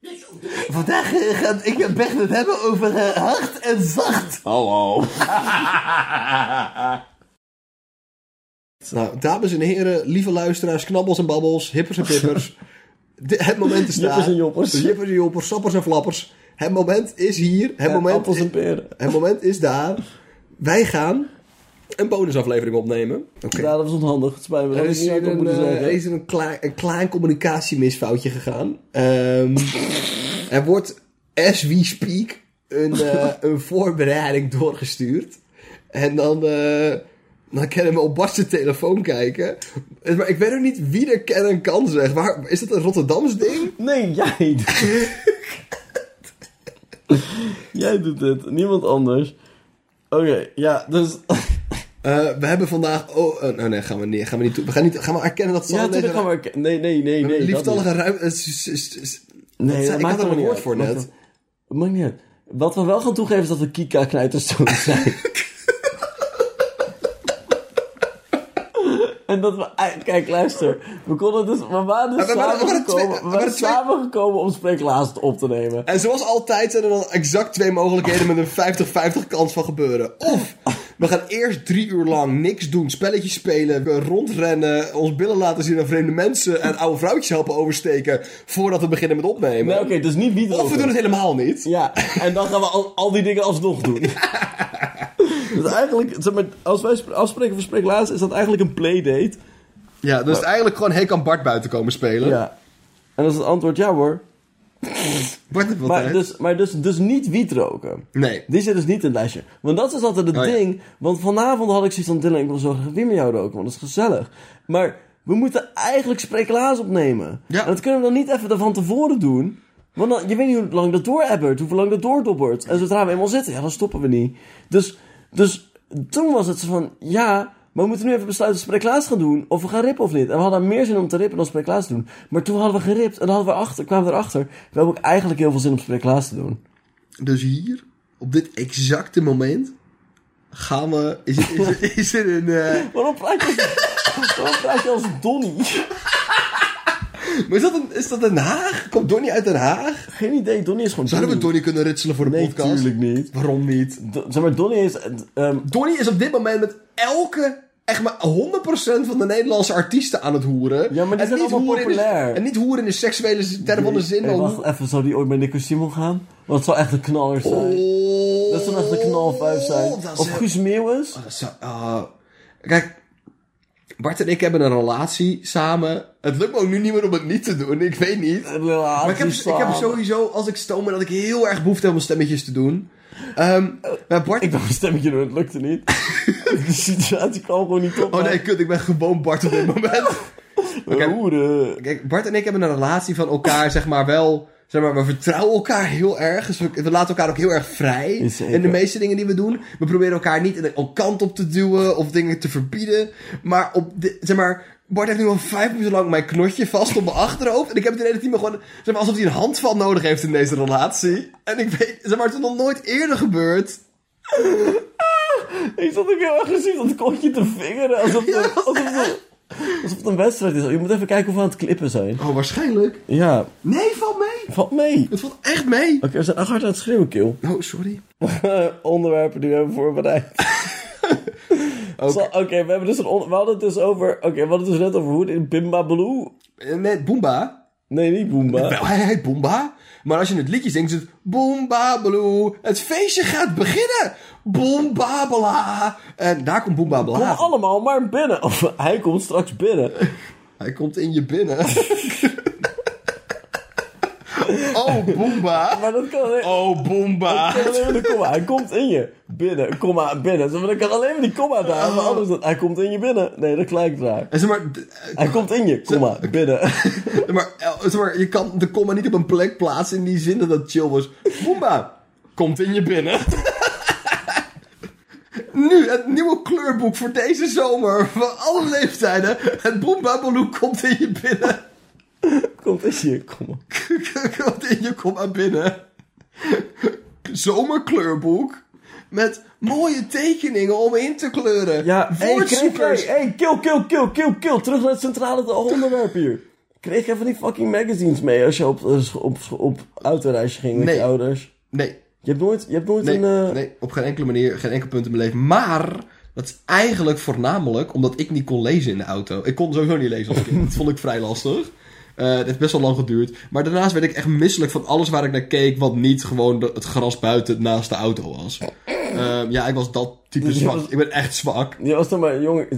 Dus Vandaag eh, gaat ik en Bert het hebben over eh, hard en zacht. Hallo. Nou, dames en heren, lieve luisteraars, knabbels en babbels, hippers en pippers. Dus De- het moment is daar. Jippers en joppers. Jippers en joppers, sappers en flappers. Het moment is hier. Het, En moment, appels en peren. het moment is daar. Wij gaan een bonusaflevering opnemen. Oké. Ja, dat was onhandig. Het spijt me. Dat Er had is ik hier net ook een, moeten eh, er zeggen. is hier een, klein, een klein communicatiemisfoutje gegaan. Ehm, er wordt, as we speak, een, eh, een voorbereiding doorgestuurd. En dan, eh, dan kunnen we op Bas' zijn telefoon kijken. Eh, Maar ik weet ook niet wie er kennen kan, zeg. Waar, is dat een Rotterdams ding? Nee, jij doet het. jij doet het. Niemand anders. Oké, ja, dus... Eh, we hebben vandaag... Oh, eh, nou nee, gaan we niet, gaan we niet toe. We gaan, niet, gaan we erkennen dat... ja, natuurlijk gaan we... erken- Nee, nee, nee, nee. dat Lieftallige niet. ruimte... eh, s- s- s- Nee, zei- dat ik maakt had er allemaal een niet woord uit. voor Maakt net. wel- Maakt niet uit. Wat we wel gaan toegeven is dat we Kika-knijterstones zijn. En dat we... ei- Kijk, luister. We konden dus... We waren dus we waren- we waren twee- samengekomen... we We waren waren twee- samengekomen om Spreeklaas op te nemen. En zoals altijd zijn er dan exact twee mogelijkheden met een 50-50 kans van gebeuren. Of we gaan eerst drie uur lang niks doen, spelletjes spelen, we rondrennen, ons billen laten zien aan vreemde mensen en oude vrouwtjes helpen oversteken voordat we beginnen met opnemen. Nee, oké, dus niet bieden. of we doen het helemaal niet. Ja, en dan gaan we al, al die dingen alsnog doen. Dus eigenlijk, zeg maar, als wij sp- afspreken voor Spreek Laatst, is dat eigenlijk een playdate. Ja, dus eigenlijk gewoon, hey, kan Bart buiten komen spelen? Ja. En dat is het antwoord, ja hoor. Bart heeft wel Maar, tijd. dus, maar dus, dus niet wiet roken. Nee. Die zit dus niet in het lijstje. Want dat is altijd het Oh ja. ding. Want vanavond had ik zoiets van Dylan, ik wil zo graag weer met jou roken, want dat is gezellig. Maar we moeten eigenlijk spreeklaas opnemen. Ja. En dat kunnen we dan niet even van tevoren doen. Want dan, je weet niet hoe lang dat doorebbert, hoe lang dat doordobbert. En zodra we eenmaal zitten, ja, dan stoppen we niet. Dus, dus toen was het zo van, ja, maar we moeten nu even besluiten of we spreeklaas gaan doen. Of we gaan rippen of niet. En we hadden meer zin om te rippen dan spreeklaas te doen. Maar toen hadden we geript en dan hadden we achter, kwamen we erachter. We hebben ook eigenlijk heel veel zin om spreeklaas te doen. Dus hier, op dit exacte moment, gaan we... Is, is, is, er een... eh, Waarom praat je als, waarom praat je als Donnie? maar is dat, een, is dat Den Haag? Komt Donnie uit Den Haag? Geen idee, Donnie is gewoon Zouden we Donnie Donnie. kunnen ritselen voor de Nee, podcast? tuurlijk niet. Waarom niet? Do- zeg maar, Donnie is... eh, d- ehm, Donnie is op dit moment met elke, echt maar 100% van de Nederlandse artiesten aan het hoeren. Ja, maar die zijn allemaal hoeren in de- populair. en niet hoeren in de seksuele term van de zin. hey, maar wacht hoe- even, zou die ooit bij Nico Simon gaan? Want het zou echt een knaller zijn. Oh, dat zou echt een knalvijf zijn. dat of zou- Guus Meeuwis? dat zou- ah. kijk, Bart en ik hebben een relatie samen. Het lukt me ook nu niet meer om het niet te doen. Ik weet niet. Eh, Maar ik heb, ik heb sowieso, als ik stoom ben, dat ik heel erg behoefte heb om stemmetjes te doen. Ehm maar Bart... Ik dacht een stemmetje doen, het lukte niet. de situatie kwam gewoon niet op. oh nee, kut, ik ben gewoon Bart op dit moment. Oké. Hoeren. Kijk, Bart en ik hebben een relatie van elkaar, zeg maar wel. Zeg maar, we vertrouwen elkaar heel erg. Dus we, we laten elkaar ook heel erg vrij. Zeker. In de meeste dingen die we doen. We proberen elkaar niet in een kant op te duwen of dingen te verbieden. Maar op de, zeg maar, Bart heeft nu al vijf minuten lang mijn knotje vast op mijn achterhoofd. En ik heb het idee dat hij me gewoon, zeg maar, alsof hij een handvat nodig heeft in deze relatie. En ik weet, zeg maar, het is nog nooit eerder gebeurd. Ik zat ook heel agressief dat kontje te vingeren. Alsof het, alsof, het, alsof het een wedstrijd is. Je moet even kijken hoe we aan het klippen zijn. Oh, waarschijnlijk. Ja, Nee, valt mee. valt mee. Het valt echt mee. Oké, we zijn hard aan het schreeuwen, Kil. Oh, sorry. Onderwerpen die we hebben voorbereid. Zo, Oké, we, hebben dus een on- we hadden het dus over... Oké, we hadden het dus net over hoe het in Bimba Blue... Eh, Nee, Boomba. Nee, niet Boomba. Wel, Nou, hij heet Boomba. Maar als je het liedje zingt, is het Boomba Blue. Het feestje gaat beginnen. Boomba Bla. En daar komt Boomba Kom Bla. allemaal maar binnen. Of hij komt straks binnen. Hij komt in je binnen. oh, Boomba. Maar dat kan alleen... Oh, Boomba. dat kan alleen maar de komma. Hij komt in je binnen. Komma binnen. Zeg maar, dan kan alleen maar die komma daar. Oh. Maar anders dan... Hij komt in je binnen. Nee, dat lijkt raar. En zeg maar, d- eh, Hij komt in je, komma binnen. maar, eh, zeg maar, je kan de komma niet op een plek plaatsen in die zin dat dat chill was. Boomba komt in je binnen. Nu het nieuwe kleurboek voor deze zomer. Van alle leeftijden. Het Boomba Blue komt in je binnen. komt in je, komma. Wat in je kom maar binnen. Zomerkleurboek. Met mooie tekeningen om in te kleuren. Ja, hey, Chris, Woordsoepers. hey, hey, kill, kill, kill, kill, kill. Terug naar het centrale onderwerp hier. Kreeg jij van die fucking magazines mee als je op, dus op, op autoreisje ging met Nee. je ouders? Nee, Je hebt nooit, je hebt nooit nee, een... eh, nee, op geen enkele manier, geen enkel punt in mijn leven. Maar dat is eigenlijk voornamelijk omdat ik niet kon lezen in de auto. Ik kon sowieso niet lezen als kind. dat vond ik vrij lastig. Eh het heeft best wel lang geduurd. Maar daarnaast werd ik echt misselijk van alles waar ik naar keek... wat niet gewoon de- het gras buiten naast de auto was. Ehm, ja, ik was dat type Dus je zwak. was- Ik ben echt zwak. Je was dan maar, jongen...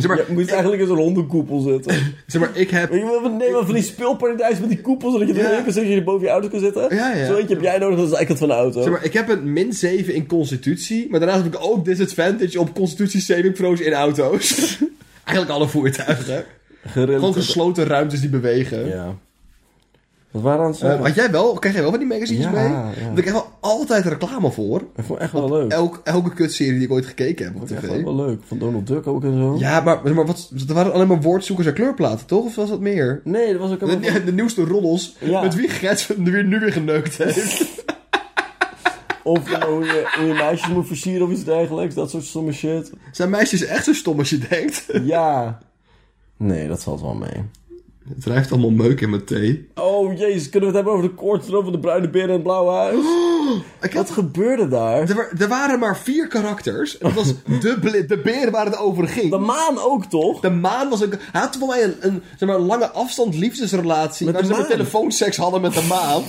Je, maar, je moet ik- eigenlijk in zo'n hondenkoepel zitten. Zeg maar, ik heb... Weet je wel, neem maar van die speelparadijs met die koepels, zodat je Ja. erin kan zitten, zodat je er boven je auto kan zitten. Ja, ja. Zo eentje heb jij nodig als de zijkant van de auto. Zeg maar, ik heb een min 7 in constitutie, maar daarnaast heb ik ook disadvantage op constitutie saving throws in auto's. Eigenlijk alle voertuigen. Gewoon Gerelateerd. gesloten ruimtes die bewegen. Ja. Wat waren we aan het Eh, zeggen? had jij wel, kreeg jij wel van die magazines Ja, mee? ja. Daar heb ik echt wel altijd reclame voor. ik vond het echt wel leuk. Ik Elk, elke kutserie die ik ooit gekeken heb op vond het tv. echt wel leuk. Van Donald Duck ook en zo. Ja, maar, maar wat, er waren alleen maar woordzoekers en kleurplaten, toch? Of was dat meer? Nee, dat was ook helemaal... De, de nieuwste roddels Ja. met wie Gert weer nu weer geneukt heeft. Of eh, hoe, je, hoe je meisjes moet versieren of iets dergelijks. Dat soort stomme shit. Zijn meisjes echt zo stom als je denkt? Ja. Nee, dat valt wel mee. Het drijft allemaal meuk in mijn thee. Oh jezus, kunnen we het hebben over de koortsdroom van de bruine beer en het blauwe huis? Ik had Wat gebeurde daar? Er, wa- er waren maar vier karakters. Het was de, bl- de beer waar het over ging. De De, maan ook toch? maan was een... Hij had voor mij een, een zeg maar, lange afstand liefdesrelatie... Met waar de ze met maan. telefoonseks hadden met de maan.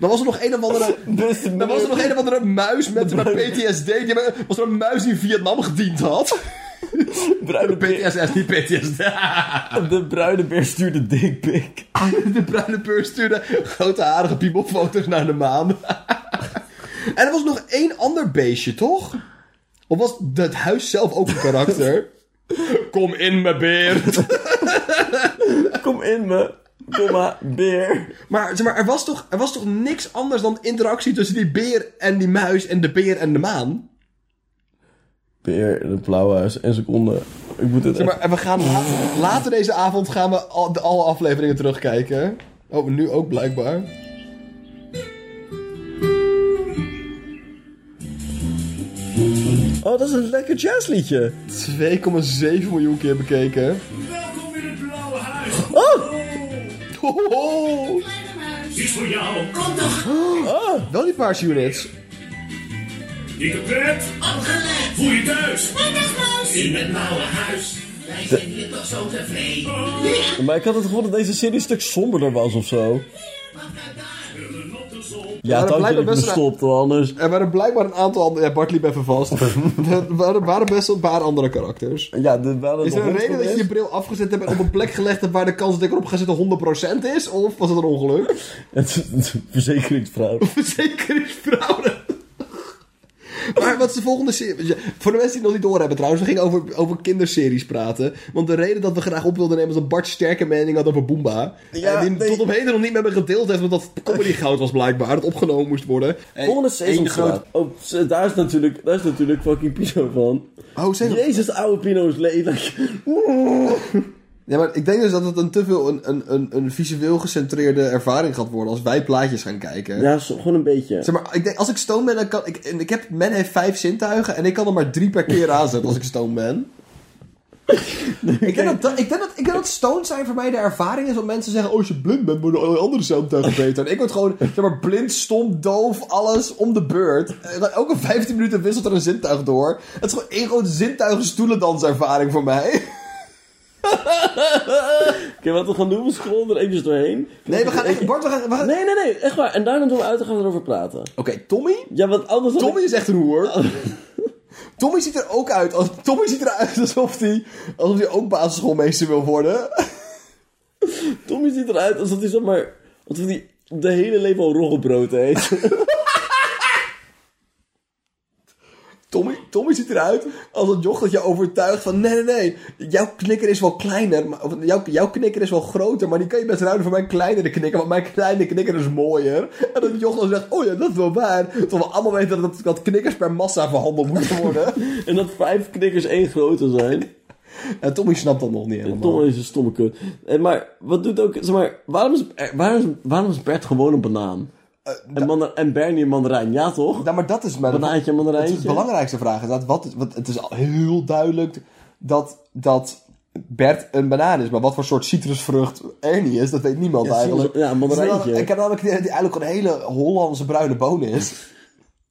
Dan was er nog een of andere... Dus de Dan was er nog een of andere muis met met PTSD. Die hebben- was er een muis die in Vietnam gediend had. bruine beer, PTSD, niet PTSD. de bruine beer stuurde dikpik. De bruine peur stuurde grote harige piemelfoto's naar de maan. en er was nog één ander beestje, toch? Of was het huis zelf ook een karakter? Kom in, mijn beer. Kom in me, komma, beer. maar zeg maar, er was, toch, er was toch niks anders dan interactie tussen die beer en die muis en de beer en de maan? Beer in het blauwe huis. En seconde. Ik moet het Zeg maar, en we gaan la- later deze avond gaan we al, de, alle afleveringen terugkijken. Oh, nu ook blijkbaar. Oh, dat is een lekker jazzliedje. 2,7 miljoen keer bekeken. Welkom in het blauwe huis. Oh! Hoho. Is voor jou. Kom toch, Wel die paarse units. Dikke pret. opgelet. Voel je thuis. Met de muis. In het blauwe huis. Wij zijn hier toch zo tevreden. Maar ik had het gevoel dat deze serie een stuk somberder was of zo. Wat gaat daar? Willen op de zon. Ja, dat dank dat blijkt je me me best wel- stopt, want anders... Er waren blijkbaar een aantal andere... Ja, Bart liep even vast. er waren, waren best wel een paar andere karakters. Ja, de, wel Is er een reden dat je je bril afgezet hebt en op een plek gelegd hebt waar de kans dat ik erop ga zitten 100% is? Of was het een ongeluk? Verzekeringsfraude. Verzekeringsfraude. Maar wat is de volgende serie? Ja, Voor de mensen die het nog niet door hebben trouwens, we gingen over, over kinderseries praten. Want de reden dat we graag op wilden nemen is dat Bart sterke mening had over Boomba. Ja, en die nee. tot op heden nog niet met me gedeeld heeft, want dat comedy goud was blijkbaar, dat opgenomen moest worden. Volgende Eén groot- seizoensraad. Oh, ze- daar, is natuurlijk, daar is natuurlijk fucking Pino van. Oh, Sesamstraat. Jezus, oude Pino is lelijk. Ja, maar ik denk dus dat het een te veel een, een, een, een visueel gecentreerde ervaring gaat worden als wij plaatjes gaan kijken. Ja, zo- gewoon een beetje. Zeg maar, ik denk, als ik stoned ben, dan kan ik... en ik heb, men heeft vijf zintuigen en ik kan er maar drie per keer aanzetten als ik stoned ben. ik, denk dat, dat- ik, denk dat, ik denk dat stoned zijn voor mij de ervaring is dat mensen zeggen... Oh, als je blind bent, worden alle andere zintuigen beter. En ik word gewoon, zeg maar, blind, stom, doof, alles om de beurt. En dan Elke 15 minuten wisselt er een zintuig door. Het is gewoon één grote zintuigen stoelendanservaring voor mij. Oké, wat we gaan doen, we scrollen er eventjes doorheen. Nee, we gaan echt... Bart, we gaan... we gaan- Nee, nee, nee, echt waar. En daarna doen we uit en gaan we erover praten. Oké, Tommy? Ja, want anders... had Tommy ik- is echt een hoer. Tommy ziet er ook uit. Als, Tommy ziet eruit alsof hij alsof hij ook basisschoolmeester wil worden. Tommy ziet eruit alsof hij, zeg maar... Alsof hij de hele leven al roggebrood eet. Tommy, Tommy ziet eruit als een joch dat je overtuigt van... Nee, nee, nee. Jouw knikker is wel kleiner. Maar, of jouw, jouw knikker is wel groter. Maar die kan je best ruilen voor mijn kleinere knikker. Want mijn kleine knikker is mooier. En dat joch dan zegt... Oh ja, dat is wel waar. Terwijl we allemaal weten dat, dat knikkers per massa verhandeld moeten worden. en dat vijf knikkers één grote zijn. en Tommy snapt dat nog niet helemaal. Tom is een stomme kut. En maar wat doet ook, zeg maar, waarom is, eh, waarom is, waarom is Bert gewoon een banaan? Eh, en, manda- en Bernie een mandarijn, ja toch? Ja, Nou, maar dat is mijn... Banaantje, mandarijntje. Het belangrijkste vraag is dat, wat, wat, het is al heel duidelijk dat, dat Bert een banaan is. Maar wat voor soort citrusvrucht Ernie is, dat weet niemand Ja, eigenlijk. soms- ja, een mandarijntje. Dus dan- Ik heb namelijk het idee dat hij eigenlijk een hele Hollandse bruine boon is.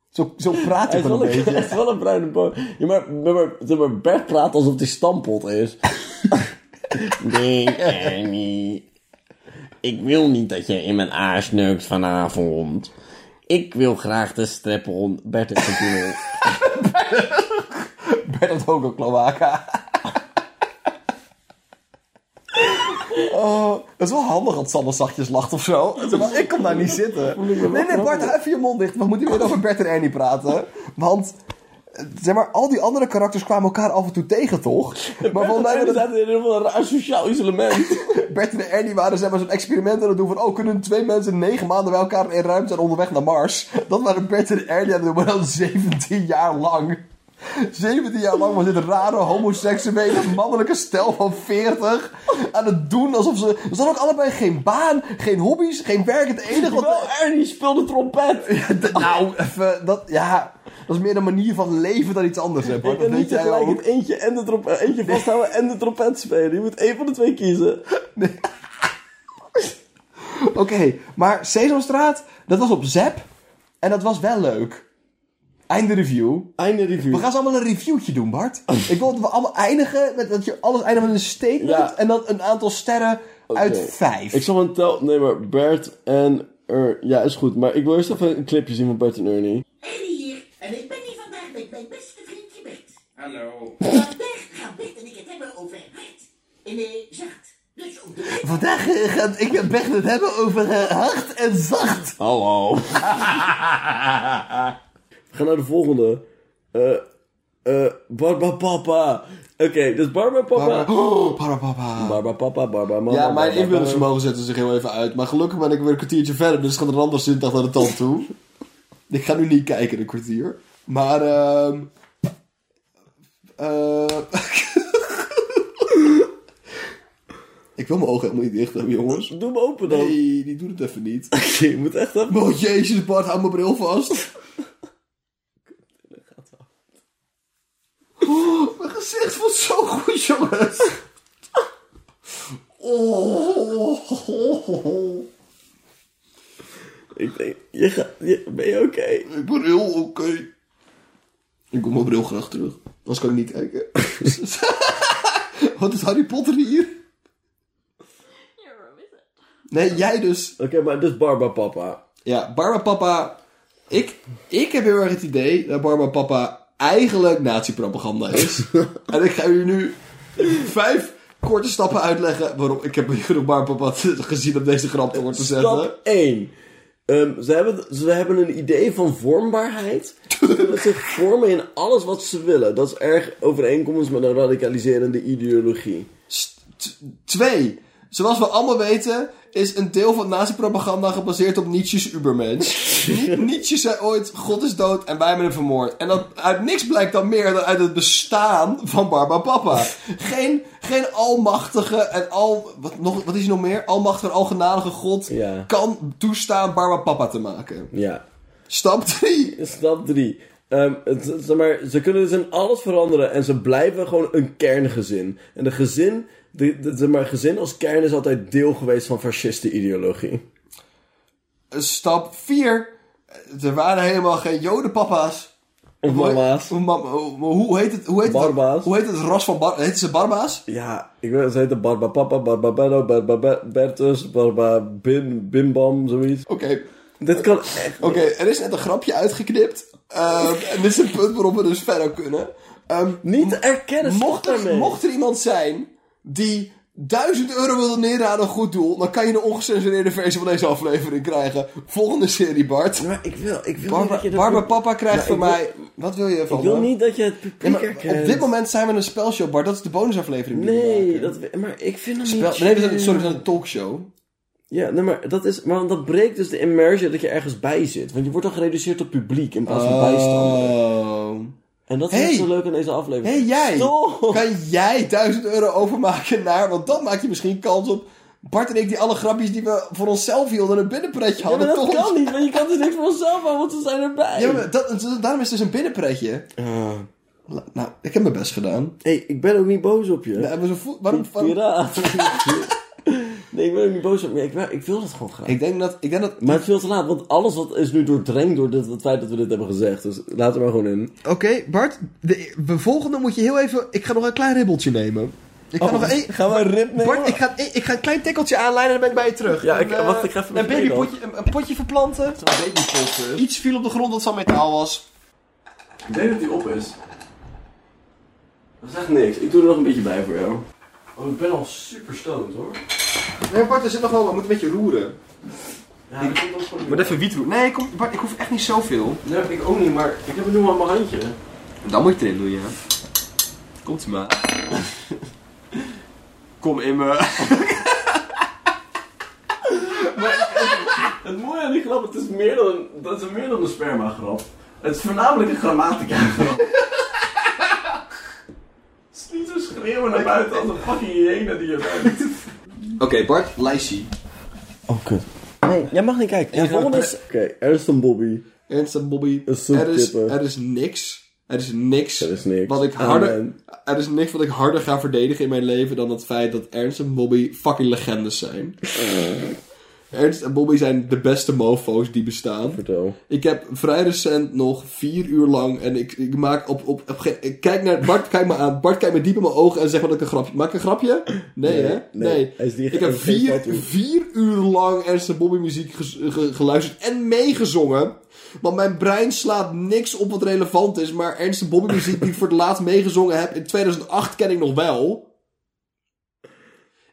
Zo, zo praat Hij ik is wel wel een een, hij beetje. is wel een bruine boom. Ja, maar, maar, maar, zeg maar Bert praat alsof hij stampot is. nee, Annie. Ik wil niet dat je in mijn aars neukt vanavond. Ik wil graag de streppel. Bert is een piemel. Bert had ook een cloaca. Oh, dat is wel handig dat Sander zachtjes lacht of zo. Zeg maar, Ik kom daar niet zitten. Nee, nee, Bart, hou even je mond dicht. We moeten niet meer over Bert en Ernie praten. Want, eh, zeg maar, al die andere karakters kwamen elkaar af en toe tegen, toch? Maar volgens mij Bert waren staat in ieder geval een raar sociaal isolement. het- Bert en Ernie waren zeg maar, zo'n experiment aan het doen van... Oh, kunnen twee mensen negen maanden bij elkaar in ruimte en onderweg naar Mars? Dat waren Bert en Ernie aan het doen, maar dan 17 jaar lang. 17 jaar lang was dit rare homoseksuele mannelijke stel van 40 aan het doen alsof ze... Ze hadden ook allebei geen baan, geen hobby's, geen werk. Het enige wat... Wel, Ernie speelde trompet. Ja, d- nou, even, dat, ja, dat is meer een manier van leven dan iets anders. Hè, Bart. Ik Dat kan niet weet jij tegelijk ook. het eentje, en de trompet, eentje vasthouden en de trompet spelen. Je moet één van de twee kiezen. Oké, maar Sesamstraat, dat was op Zep. En dat was wel leuk. Einde review. Einde We review. gaan ze allemaal een reviewtje doen, Bart. Ik wil dat we allemaal eindigen met dat je alles eindigt met een statement. Ja. En dan een aantal sterren uit Oké. vijf. Ik zal een tel... Nee, maar Bert en... Er... Ja, is goed. Maar ik wil eerst even een clipje zien van Bert en Ernie. Eddie hier. En ik ben hier vandaag met mijn beste vriendje Bert. Hallo. Vandaag gaan Bert en ik het hebben over hard. En eh, zacht. Dus op de Vandaag eh, gaat ik en Bert het hebben over eh, hard en zacht. Hallo. We gaan naar de volgende. Eh... eh Barba Papa. Oké, dus Barba Papa... Oh, parapapa. Barba Papa, Barba Mama. Ja, mijn Barba- inbeeldingsvermogen zette zich heel even uit. Maar gelukkig ben ik weer een kwartiertje verder, dus gaat er anders zintuig naar de tand toe. ik ga nu niet kijken in een kwartier. Maar, ehm... eh, ik wil mijn ogen helemaal niet dicht hebben, jongens. Doe hem open dan. Nee, die doet het even niet. Oké, je moet echt even... Oh, jezus, Bart, hou mijn bril vast. Oh, mijn gezicht voelt zo goed, jongens. Oh. Ik denk... Je gaat... je- Ben je oké? Ik ben heel oké. Ik kom mijn bril graag terug. Anders kan ik niet kijken. Wat is Harry Potter hier? Nee, jij dus. Oké, maar dus Barba Papa. Ja, Barba Papa. Ik, ik heb heel erg het idee dat Barba Papa eigenlijk nazi-propaganda is. en ik ga u nu vijf korte stappen uitleggen waarom ik heb niet genoeg Barba Papa gezien om deze grap te worden te zetten. Stap 1. ze, hebben, ze hebben een idee van vormbaarheid. Ze kunnen zich vormen in alles wat ze willen. Dat is erg overeenkomst met een radicaliserende ideologie. St- t- Twee. Zoals we allemaal weten is een deel van nazi-propaganda gebaseerd op Nietzsche's Ubermensch. Nie- Nietzsche zei ooit, God is dood en wij hebben hem vermoord. En dat, uit niks blijkt dan meer dan uit het bestaan van Barba Papa. Geen, geen almachtige en al... Wat, nog, wat is hij nog meer? Almachtige, algenadige God Ja. kan toestaan Barba Papa te maken. Ja. Stap 3. Dus Stap 3. zeg maar, ze kunnen dus in alles veranderen en ze blijven gewoon een kerngezin. En de gezin, de, de- zeg maar, gezin als kern is altijd deel geweest van fascisten ideologie. Stap 4. Er waren helemaal geen jodenpapa's. Of mama's. Hoe, ma- hoe- hoe heet het? Hoe heet Barba's. Het, hoe heet het ras van bar, heet ze Barba's? Ja, ik weet ze heten Barba Papa, Barba Bello, Barba Be- Bertus, Barba Bim, Bimbam, zoiets. Oké. Dit kan echt. Oké, er is net een grapje uitgeknipt. Ehm, en dit is een punt waarop we dus verder kunnen. Ehm, Niet te erkennen, mocht, er, mocht er iemand zijn die 1000 euro wil doneren aan een goed doel, dan kan je een ongecensureerde versie van deze aflevering krijgen. Volgende serie, Bart. Maar ik wil, ik wil niet dat Barba, je dat- Barba Papa krijgt van Ja, ik wil- mij. Wat wil je van Ik wil me? niet dat je het Ja, publiek maar herkent. op dit moment zijn we een spelshow, Bart. Dat is de bonusaflevering. die we Nee, maken. dat, we- maar ik vind hem niet... Spel, nee, dat chill. is, sorry, dat is een talkshow. Ja, nee, maar dat is... Maar dat breekt dus de immersion dat je ergens bij zit. Want je wordt dan gereduceerd op publiek in plaats van bijstand. Oh. En dat is Hey. zo leuk aan deze aflevering. Hé, hey, jij! Stop! Kan jij 1000 euro overmaken naar... Want dan maak je misschien kans op... Bart en ik die alle grapjes die we voor onszelf hielden... een binnenpretje Ja, hadden. maar dat toch- kan niet, want je kan dus niks voor onszelf aan, want ze zijn erbij. Ja, maar dat, dat- daarom is het dus een binnenpretje. Ah. La- Nou, ik heb mijn best gedaan. Hé, ik ben ook niet boos op je. We hebben zo'n voet- waarom, waarom- Piraat. nee, ik ben ook niet boos op je. Ik, wil- ik wil dat gewoon graag. Ik denk dat... Ik denk dat Maar het is veel te laat, want alles wat is nu doordrenkt door dit, het feit dat we dit hebben gezegd. Dus laten we maar gewoon in. Oké, Bart. De, de volgende moet je heel even... Ik ga nog een klein ribbeltje nemen. Ik ga nog één... Gaan we een rip nemen? Bart, ik ga, ik ga een klein tikkeltje aanleiden en dan ben ik bij je terug. Ja, ik- Een, eh, wacht, ik ga even Een mijn vee babypotje, een, een potje verplanten. een beetje potten. Iets viel op de grond dat van metaal was. Ik denk dat hij op is. Dat is echt niks. Ik doe er nog een beetje bij voor jou. Oh, ik ben al super stoned hoor. Nee, Bart, er zit nog wel... We moeten een beetje roeren. Ja, ik vind dat gewoon Moet even wiet roeren. Nee, kom, Bart, ik hoef echt niet zoveel. Nee, ik ook niet, maar ik heb het nu al aan mijn handje. Dan moet je erin doen, ja. Komt ie maar. Kom in me. Het mooie aan die grap, het is meer dan een, dat is meer dan een sperma grap. Het is voornamelijk een grammatica grap. het is niet zo schreeuwen naar buiten als een fucking hyena die je bent. Oké, Bart, lijstje. Oh kut. Nee, jij mag niet kijken. En volgende is... Oké, er is een Bobby. Ernst Bobby. Een soep Er is, kippen. er is niks. Er is niks. Er is niks. Wat ik Amen. harder, er is niks wat ik harder ga verdedigen in mijn leven dan het feit dat Ernst en Bobby fucking legendes zijn. Ernst en Bobby zijn de beste mofo's die bestaan. Vertel. Ik heb vrij recent nog vier uur lang en ik, ik maak op, op, op ge- ik kijk naar Bart, kijk me aan. Bart kijkt me diep in mijn ogen en zegt wat ik een grapje. Maak ik een grapje? Nee, hè? nee. Nee. Hij is niet- ik heb hij geeft vier, dat toe. vier uur lang Ernst en Bobby muziek ges- ge- geluisterd en meegezongen. Want mijn brein slaat niks op wat relevant is, maar Ernst en Bobby muziek die ik voor het laatst meegezongen heb in 2008 ken ik nog wel.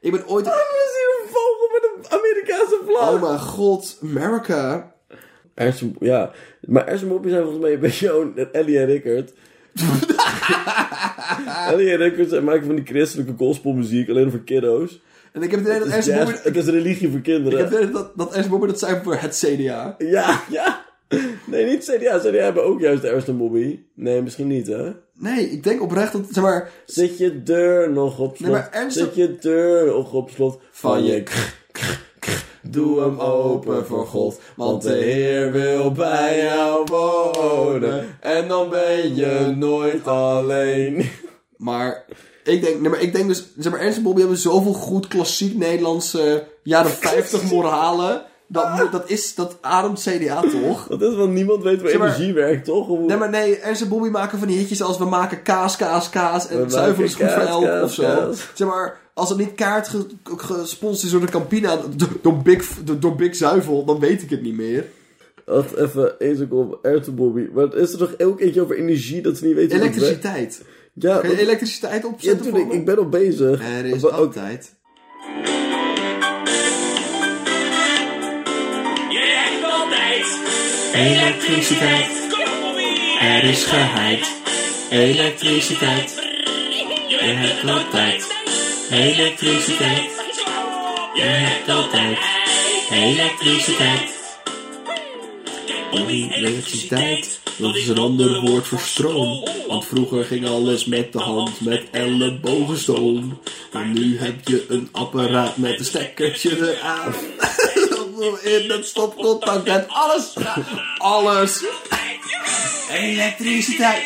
Ik ben ooit... is hier een vogel met een Amerikaanse vlag. Oh mijn god, America. Ernst, en- ja, maar Ernst en Bobby zijn volgens mij een beetje gewoon net Ellie en Rickert. Ellie en Rickert zijn- maken van die christelijke gospelmuziek alleen voor kiddo's. En ik heb het idee dat Het Ernst is, en jazz- Bobby... het is religie voor Ik kinderen. heb het idee dat, dat Ernst en Bobby dat zijn voor het CDA. Ja, ja. Nee, niet CDA. CDA hebben ook juist Ernst en Bobby. Nee, misschien niet, hè? Nee, ik denk oprecht dat, zeg maar... Zet je deur nog op slot. Nee, maar Ernst- Zet je deur nog op slot van je... k- Doe hem open voor God, want de Heer wil bij jou wonen. En dan ben Je je... nooit alleen. Maar ik denk, nee, maar ik denk dus, zeg maar, Ernst en Bobby hebben zoveel goed klassiek Nederlandse jaren 50 moralen. Ah. Dat, moet- dat, is, dat ademt CDA toch? Dat is want niemand weet hoe Zeg maar- energie werkt, toch? Hoe- Nee, maar nee, Ernst en Bobby maken van die hitjes als we maken kaas, kaas, kaas en maken zuivel is goed voor kaas, elk kaas, of zo. kaas. Zeg maar, als het niet kaart ge- gesponsord is door de Campina, do- door Big, do- door Big Zuivel, dan weet ik het niet meer. Wacht even, één seconde, Ernst en Bobby. Maar het is er toch elk eentje over energie dat ze niet weten hoe het werkt? Elektriciteit. Ja, Kun je dat- elektriciteit ja opzetten natuurlijk, voor me? ik ben al bezig. oh, Er is Maar ook- altijd... Je hebt altijd elektriciteit. Kom op, Er is geheid. Elektriciteit. Je hebt altijd elektriciteit. Je hebt altijd elektriciteit. Elektriciteit, dat is een ander woord voor stroom. Want vroeger ging alles met de hand, met ellebogenstoom. Maar nu heb je een apparaat met een stekkertje eraan. In het stopcontact en alles. Alles. Elektriciteit.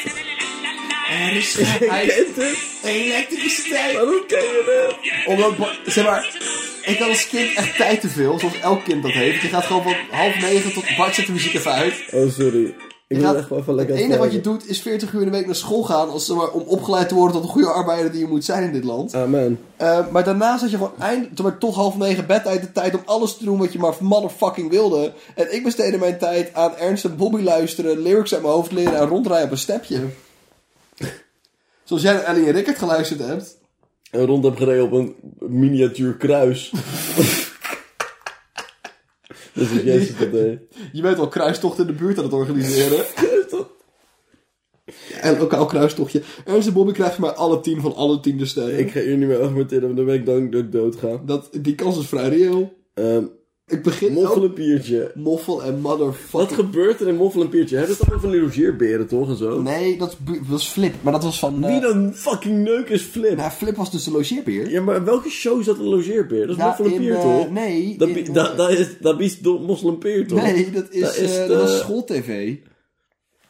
Er is Ik geheid. ken dit. Elektriciteit. Waarom ken je dit? Omdat, Ba- zeg maar, ik had als kind echt tijd te veel, zoals elk kind dat heeft. Je gaat gewoon van half negen tot Bart zet de muziek even uit. Oh, sorry. Ik Je wil gaat- echt wel even lekker het enige wat je kijken. doet is 40 uur in de week naar school gaan als, zeg maar, om opgeleid te worden tot een goede arbeider die je moet zijn in dit land. Amen. Eh, maar daarnaast had je gewoon eind, zeg maar, tot half negen bedtijd de tijd om alles te doen wat je maar motherfucking wilde. En ik besteedde mijn tijd aan Ernst en Bobby luisteren, lyrics uit mijn hoofd leren en rondrijden op een stepje. Zoals jij naar Ellie en Rickert geluisterd hebt. En rond heb gereden op een miniatuur kruis. dat is Jezus dat deed. Je bent wel kruistocht in de buurt aan het organiseren. En lokaal kruistochtje. Ernst en Bobby krijgen maar alle tien van alle tien de steun. Ik ga hier niet meer argumenteren, want dan ben ik dank dat ik dood ga. Dat, die kans is vrij reëel. Ehm, Ik begin moffel elk- een biertje. moffel en Wat motherfucking... gebeurt er in moffel en biertje? Hebben ze dat over logeerberen, toch, en zo? Nee, dat bu- was Flip. Maar dat was van... eh, Wie dan fucking neuk is Flip? nou, Flip was dus de logeerbeer. Ja, maar welke show is dat een logeerbeer? Dat is Ja, Moffel en in, Peer, eh, toch? nee, Dat, in, bi- eh, dat, dat is, dat is Moffel en Peer, toch? Nee, dat is, Dat is eh, de- dat was schooltv.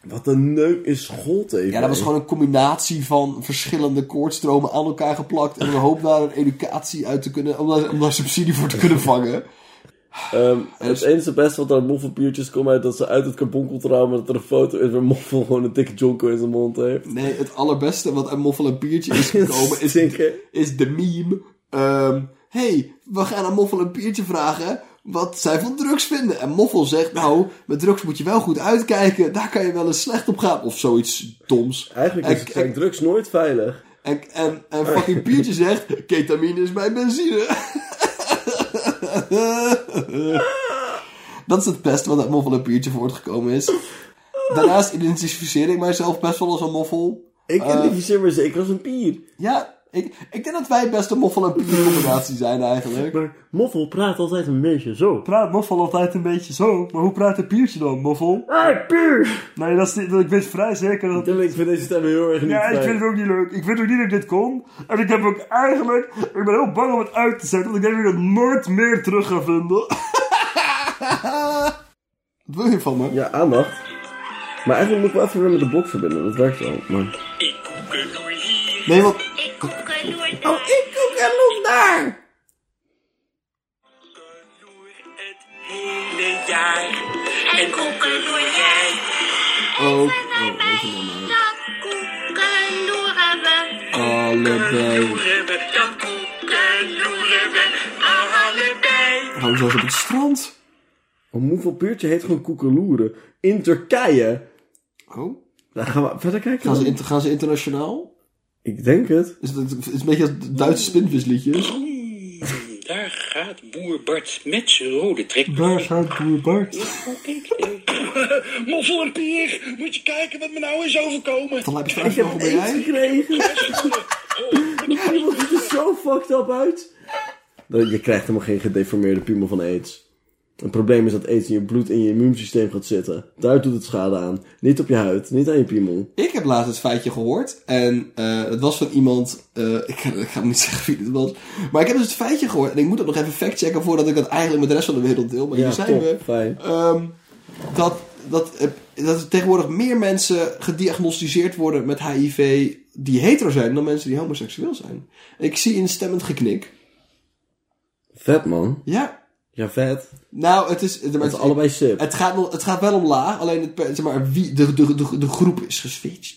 Wat een neuk is schooltape. Ja, dat was hè? gewoon een combinatie van verschillende koordstromen aan elkaar geplakt. En een hoop daar een educatie uit te kunnen, om daar, om daar subsidie voor te kunnen vangen. Ehm, dus- het enige beste wat uit moffelbiertjes komt uit dat ze uit het karbonkel ramen dat er een foto is waar moffel gewoon een dikke jonko in zijn mond heeft. Nee, het allerbeste wat uit Moffel en Piertje is gekomen is, Stinken. is de meme. ehm, hey, we gaan aan Moffel en Piertje vragen wat zij van drugs vinden. En Moffel zegt, nou, met drugs moet je wel goed uitkijken. Daar kan je wel eens slecht op gaan. Of zoiets doms. Eigenlijk is, En- zijn drugs nooit veilig. En, en, en fucking Piertje zegt, ketamine is mijn benzine. Dat is het beste wat uit Moffel en Piertje voortgekomen is. Daarnaast identificeer ik mijzelf best wel als een moffel. Ik identificeer me zeker als een pier. Ja, ik, ik denk dat wij best een moffel en pier combinatie zijn eigenlijk. Maar moffel praat altijd een beetje zo. Praat Moffel altijd een beetje zo. Maar hoe praat een Piertje dan, Moffel? Ah, pier! Nee, dat is niet, dat- ik weet vrij zeker dat... Ik vind deze stem heel erg niet Ja, ik fijn. vind het ook niet leuk. Ik vind ook niet dat ik dit kon. En ik heb ook eigenlijk... Ik ben heel bang om het uit te zetten. Want ik denk dat ik het nooit meer terug ga vinden. Wat wil je van me? Ja, aandacht. Maar eigenlijk moet ik wel even weer met de blok verbinden, dat werkt wel. Maar... Ik kom er nooit hier. Nee, want Oh, Ik kom er nooit daar. kook Oh, en loop daar! Door het hele jaar. En koekeloerij. ook Dat koekeloeren we. allebei. Koekeloeren we. Dat koekeloeren we. Allebei. Gaan we zo eens op het strand? Een moffelbiertje heet gewoon koekeloeren. In Turkije. Oh, Daar gaan we verder kijken. gaan dan. ze, inter- gaan ze internationaal? Ik denk het. Is het, is het een beetje als Duitse spinvisliedjes? Hmm, Daar gaat boer Bart met zijn rode trek. Daar gaat Boer Bart. Oh, kijk. eh. Moffel en Pier, moet je kijken wat me nou is overkomen. Dan heb je Ik straks heb nog bij eens jij? gekregen. Iemand ziet er zo fucked up uit. Dat- Je krijgt helemaal geen gedeformeerde piemel van aids. Het probleem is dat aids in je bloed en je immuunsysteem gaat zitten. Daar doet het schade aan. Niet op je huid, niet aan je piemel. Ik heb laatst het feitje gehoord. En eh, het was van iemand. eh, ik, ga- ik ga hem niet zeggen wie het was. Maar ik heb dus het feitje gehoord. En ik moet dat nog even factchecken voordat ik dat eigenlijk met de rest van de wereld deel. Maar Ja, hier zijn top, we. fijn. Ehm, dat, dat, eh, dat er tegenwoordig meer mensen gediagnosticeerd worden met HIV die hetero zijn dan mensen die homoseksueel zijn. Ik zie een stemmend geknik. Vet man. Ja. Ja, vet. Nou, het is. Dat is allebei sip. Het gaat, nog- het gaat wel omlaag, alleen het, per- zeg maar, wie, de, de, de, de groep is geswitcht.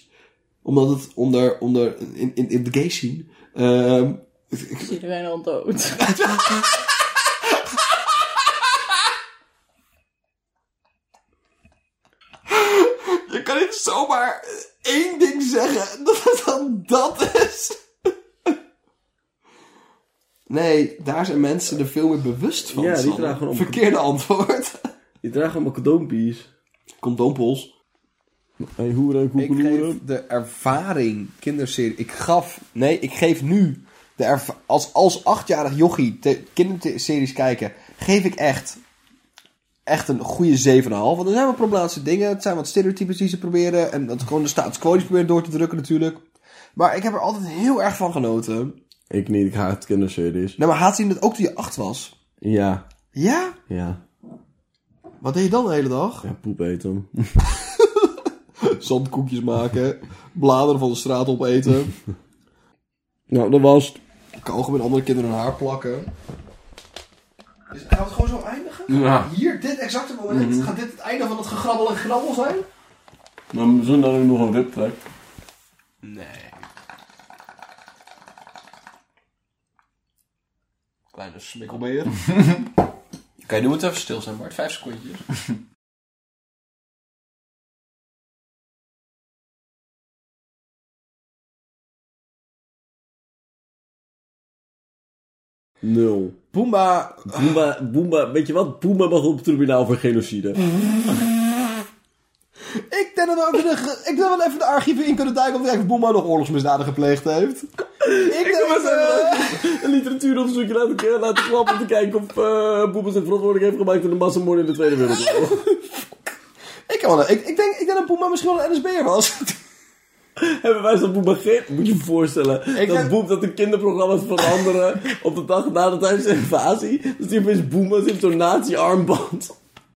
Omdat het onder, onder in, in, in de gay scene. ehm, Is iedereen al dood? je kan niet zomaar één ding zeggen dat het dan dat is. Nee, daar zijn mensen er veel meer bewust van. Ja, die Sanne. dragen om- Verkeerde antwoord. Je draagt allemaal condoompies. Condoompels. Hey, hoeren, Ik geef koekeloeren. de ervaring kinderserie. Ik gaf. Nee, ik geef nu. De erva- als, als achtjarig jochie te- kinderseries kijken, geef ik echt. Echt een goede 7,5. Want er zijn wat problematische dingen. Het zijn wat stereotypes die ze proberen. En dat gewoon de status quo die ze proberen door te drukken natuurlijk. Maar ik heb er altijd heel erg van genoten. Ik niet, ik haat kinderseries. Nou, maar haat zien dat ook toen je acht was? Ja, Ja? ja. Wat deed je dan de hele dag? Ja, poep eten. Zandkoekjes maken. Bladeren van de straat opeten. nou, dat was het. Kalgen met andere kinderen hun haar plakken. Dus gaan we het gewoon zo eindigen? Ja. Hier, dit exacte moment. Gaat dit het einde van het gegrabbel en grabbel zijn? Maar Nou, we zullen daar ook nog een rip trekken. Kleine smikkelbeer. Oké, nu moet het even stil zijn, Bart. Vijf secondjes. Nul. Pumba. Boomba, Boomba, weet je wat? Boomba mag op het tribunaal voor genocide. Ik denk dat we, ook de, ge- ik denk dat we even de archieven in kunnen duiken om te kijken of Pumba nog oorlogsmisdaden gepleegd heeft. Ik, denk eh, dat... Een literatuuronderzoekje laten, ke- laten eh, klappen om te kijken of eh Boomba zijn verantwoordelijk heeft gemaakt in de massamoord in de Tweede Wereldoorlog. ik, kan wel- ik, ik, denk, ik denk dat Pumba misschien wel een NSB'er was. Hebben wij zo'n Boomba geen... Moet je je voorstellen, Ik dat heb- Boom dat de kinderprogramma's veranderen op de dag na de tijdens de invasie. Dus die opeens Boomba heeft zo'n nazi-armband.